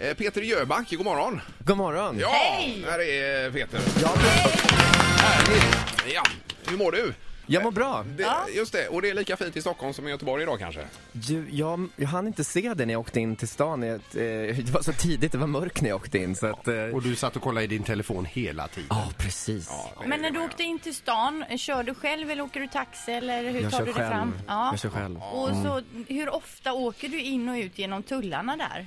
Eh, Peter Jöback, god morgon. God morgon. Ja, Hej! här är Peter. Ja, Härligt. Ja, hur mår du? jag mår bra. Det, Just det, och det är lika fint i Stockholm som i Göteborg idag kanske. Du, jag, jag hann inte se dig när jag åkte in till stan. Jag, eh, det var så tidigt, det var mörkt när jag åkte in. Så att, eh, Och du satt och kollade i din telefon hela tiden. ja, precis. Men när du åkte in till stan, kör du själv eller åker du taxi eller hur jag, tar kör du dig fram? själv. jag kör Mm. själv. Och så, hur ofta åker du in och ut genom tullarna där?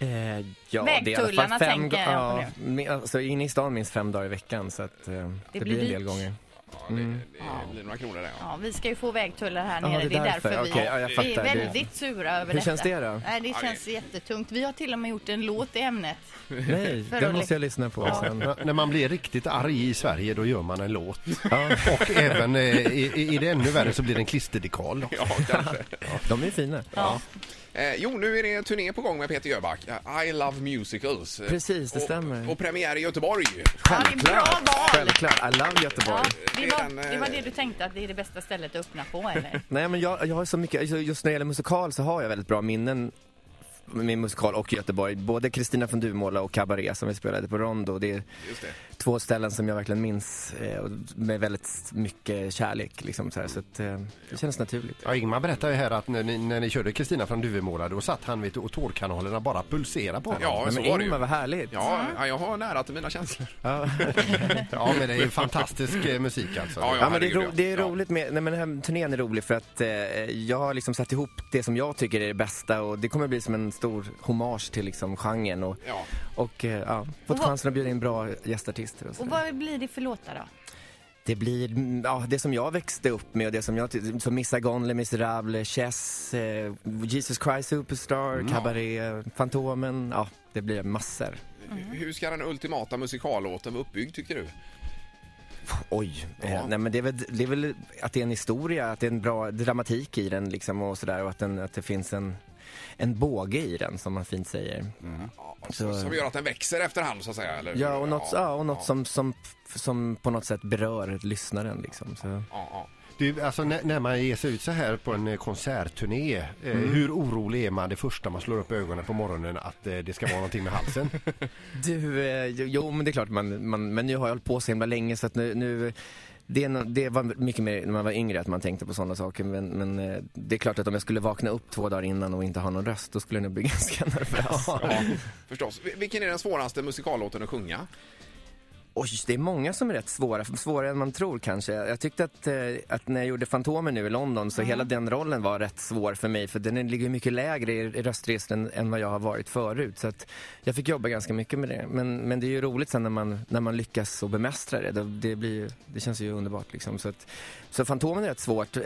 Eh, ja, Vägtullarna tänker jag på ja, min- alltså, jag är inne i stan minst fem dagar i veckan. Så att, eh, det, blir blir en del dyrt. gånger. Ja, det, det blir några kronor där. Ja. Ja, vi ska ju få vägtullar här Ja, nere, det det är är därför, därför. vi, Okej, ja, jag vi är fattar. Det- väldigt sura över Hur detta. känns det då? Nej, det känns jättetungt. Vi har till och med gjort en låt i ämnet. Nej, För den roligt. måste jag lyssna på sen. N- När man blir riktigt arg i Sverige då gör man en låt. Ja, Och även eh, i, i- i det ännu värre så blir det en klisterdekal. då. Ja, kanske. de är ju fina. Ja. Eh, jo, nu är det en turné på gång med Peter Jöback. I Love Musicals. Eh, Precis, det och, stämmer. Och premiär i Göteborg. Ja, det är bra val! Självklart, I love Göteborg. Ja, Det det, är var, den, eh, det var det du tänkte att det är det bästa stället att öppna på eller? Nej men jag, jag har så mycket, alltså, just när det gäller musikal så har jag väldigt bra minnen med min musikal och Göteborg. Både Kristina från Duvemåla och Cabaret som vi spelade på Rondo. Det är Just det. två ställen som jag verkligen minns eh, och med väldigt mycket kärlek. Liksom, så här, så att, eh, det känns naturligt. Ja, Ingmar berättade ju här att när ni, när ni körde Kristina från Duvemåla då satt han vet, du, och tårkanalerna bara pulserade på honom. Ja, Nej, så men var det ju. Ingmar, vad härligt. Ja, ja, jag har nära till mina känslor. ja men det är ju fantastisk eh, musik alltså. Ja, Ja, men det, är herregud, ro, ja. det är Ja. roligt med, nej men den här turnén är rolig för att eh, jag har liksom satt ihop det som jag tycker är det bästa och det kommer bli som en stor hommage till liksom genren och, Ja. och eh, ja, fått vad- chansen att bjuda in bra gästartister och så. Och vad blir det för låtar då? Det blir mm, ja, det som jag växte upp med och det som jag ty- som Missagon, Les Misérables, Chess, eh, Jesus Christ Superstar, Cabaret, Fantomen. Ja, det blir massor. Hur ska den ultimata musikallåten vara uppbyggd tycker du? Oj. Ja. Eh, nej, men det är, väl, det är väl att det är en historia, att det är en bra dramatik i den liksom och sådär och att, den, att det finns en, en båge i den som man fint säger. Så- Som gör att den växer efterhand så att säga? Eller? Ja, och något, ja, och något ja, som, som, som på något sätt berör lyssnaren liksom. Så. Ja, ja. Du, alltså, när, när man ger sig ut så här på en eh, konsertturné, eh, Mm. hur orolig är man det första man slår upp ögonen på morgonen att eh, det ska vara någonting med halsen? Du, eh, jo- jo men det är klart, man, man, men nu har jag hållit på så himla länge så att nu, nu det, är nå- det var mycket mer när man var yngre att man tänkte på sådana saker men, men eh, det är klart att om jag skulle vakna upp två dagar innan och inte ha någon röst då skulle jag nog bli ganska nervös. Ja, förstås. Vil- Vilken är den svåraste musikallåten att sjunga? Oj, det är många som är rätt svåra, svårare än man tror kanske. Jag tyckte att, eh, att när jag gjorde Fantomen nu i London så hela den rollen var rätt svår för mig för den är- ligger mycket lägre i i röstregistren än vad jag har varit förut. Så att jag fick jobba ganska mycket med det. Men, men det är ju roligt sen när man, när man lyckas och bemästra det. Det, det, blir, ju- det känns ju underbart liksom. Så, att, så Fantomen är rätt svårt, eh,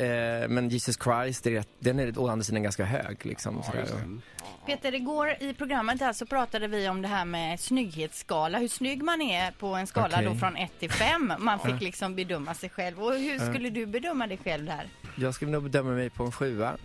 men Jesus Christ, är rätt, den är å andra sidan ganska hög liksom. sådär. Peter, igår i programmet här så pratade vi om det här med snygghetsskala, hur snygg man är på en skala Okej. då från 1 till 5. Man fick liksom bedöma sig själv. Och hur skulle du bedöma dig själv där? Jag skulle nog bedöma mig på en sjua.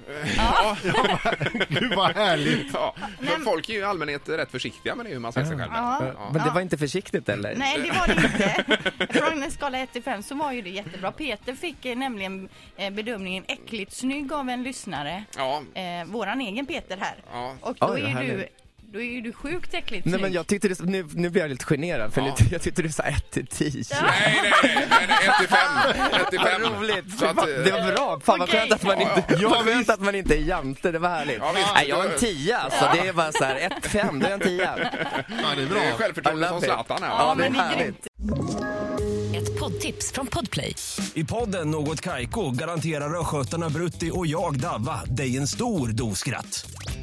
Gud vad härligt! Ja. för Folk är ju i allmänhet rätt försiktiga med det, hur man ser sig själv. Ja. Men det var inte försiktigt eller? Nej, det var det inte. Från en skala 1 till 5 så var ju det jättebra. Peter fick eh, nämligen eh, bedömningen äckligt snygg av en lyssnare. Ja, Eh, våran egen Peter här. Ja. Och då Oj, vad är du, härligt. då är ju du sjukt äckligt Nej snygg. men jag tyckte det, nu, nu blir jag lite generad för Ja. lite, jag tyckte du sa 1 till 10. Nej, nej, nej, nej, nej, ett till fem. Ett till Vad fem. roligt! Så att, eh, det var bra! Fan vad Okej. skönt att man Ja, inte, ja. vad Ja, skönt visst. att man inte är jante, det var härligt. Ja, visst. Nej, jag är en 10 alltså, det är bara såhär 1 5, då är jag en 10. Ja, det är det är I självförtroende love som it. Zlatan här. Ja, va? det är men det är härligt. grymt. Ett poddtips från Podplay. I podden Något Kaiko garanterar östgötarna Brutti och jag, Davva, dig en stor dos skratt.